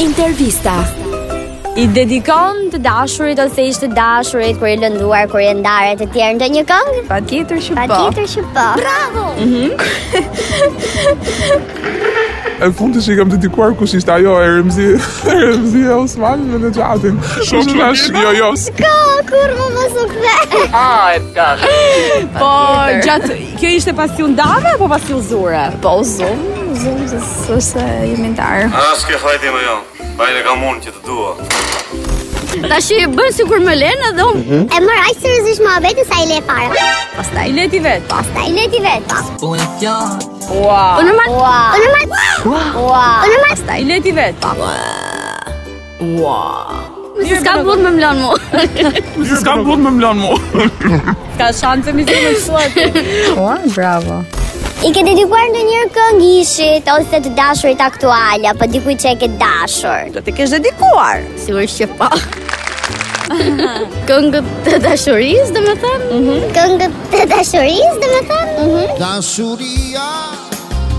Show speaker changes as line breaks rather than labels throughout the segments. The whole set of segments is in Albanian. Intervista.
I dedikon të dashurit ose ishte dashurit kur i lënduar, kur i ndarë e të tjerë ndonjë këngë?
Pa tjetër që po.
Patjetër që po. Bravo!
E fundi që i kam dedikuar kush ishte ajo e Remzi, e Remzi e Osman me në gjatin. Kush tash, jo, jo, s-
Ka kur më mos u kthe.
Po, gjatë
Kjo ishte pasi u ndave apo pasi u zure?
po zoom, zoom se s'është jemi ndarë.
As ke hajti më jo. Bajle kam unë që të dua.
Tash i bën sikur më lën edhe unë.
Mhm.
E mor aq seriozisht muhabetin sa i le fare.
I leti vetë.
Pastaj le Po, ti vetë.
Ua.
Po normal. Po normal. Ua. Po normal.
I leti vetë.
Mos ka mund më mlon mua.
s'kam mund me mlon mu.
Ka shanse mi zure shkuat.
Po, bravo.
I ke dedikuar ndonjëherë këngë ishit ose të dashurit aktuale apo dikujt që e ke dashur?
Do të kesh dedikuar.
Sigurisht që po. Këngët të dashurisë, domethënë?
Mhm.
Këngët të dashurisë, domethënë? Mhm.
Dashuria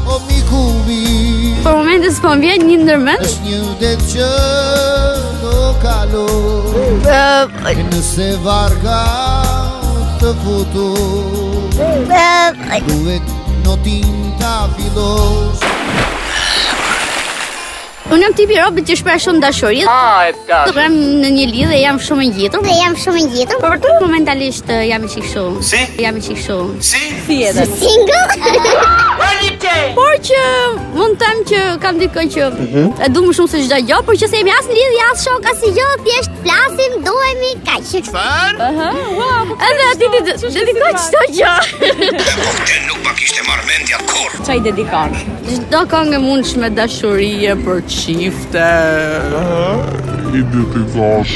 O miku mi
Për Po momentin s'po më vjen një ndërmend.
është një det që do kalo
Ë,
E nëse varga të futu
Ë,
Duhet notin ta fillosh
unë jam tipi i robit që shpreh shumë dashuri. Ah, e ka. Jam në një lidhje, jam shumë e ngjitur.
dhe jam shumë e ngjitur.
Po vërtet momentalisht eh, jam i qik shumë.
Si?
Jam i qik shumë.
Si?
Thjesht.
Single?
Por që mund të them që kam dikën që e du më shumë se çdo gjë, por që se jemi as në lidhje, as
Po,
shok, as i gjë, thjesht
jo, Flasim, duhemi, kaq.
Aha, ua, po
edhe aty ti dedikoj çdo gjë.
Nuk pa kishte marrë mendja kur.
çaj dedikon.
Çdo këngë mundshme dashurie për çifte.
I dedikon.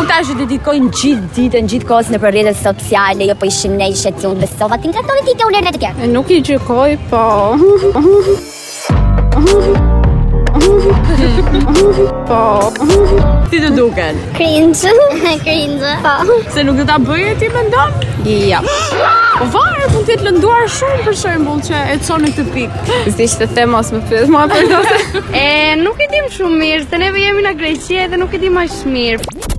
U tash i dedikojnë gjithë ditën, gjithë kohën nëpër rrjetet sociale, jo po ishin ne ishe ti unë besova ti nga
Ti ke ulën atë kërë.
Nuk i gjykoj, po
ti të duken.
Cringe. Cringe. Po.
Se nuk do ta bëje ti mendon?
ja.
Po varet, mund të jetë lënduar shumë për shembull që e çon në këtë pikë.
Zdish të them mos më pyet mua për dose. e nuk e dim shumë mirë, se neve jemi në Greqi edhe nuk e dim aq mirë.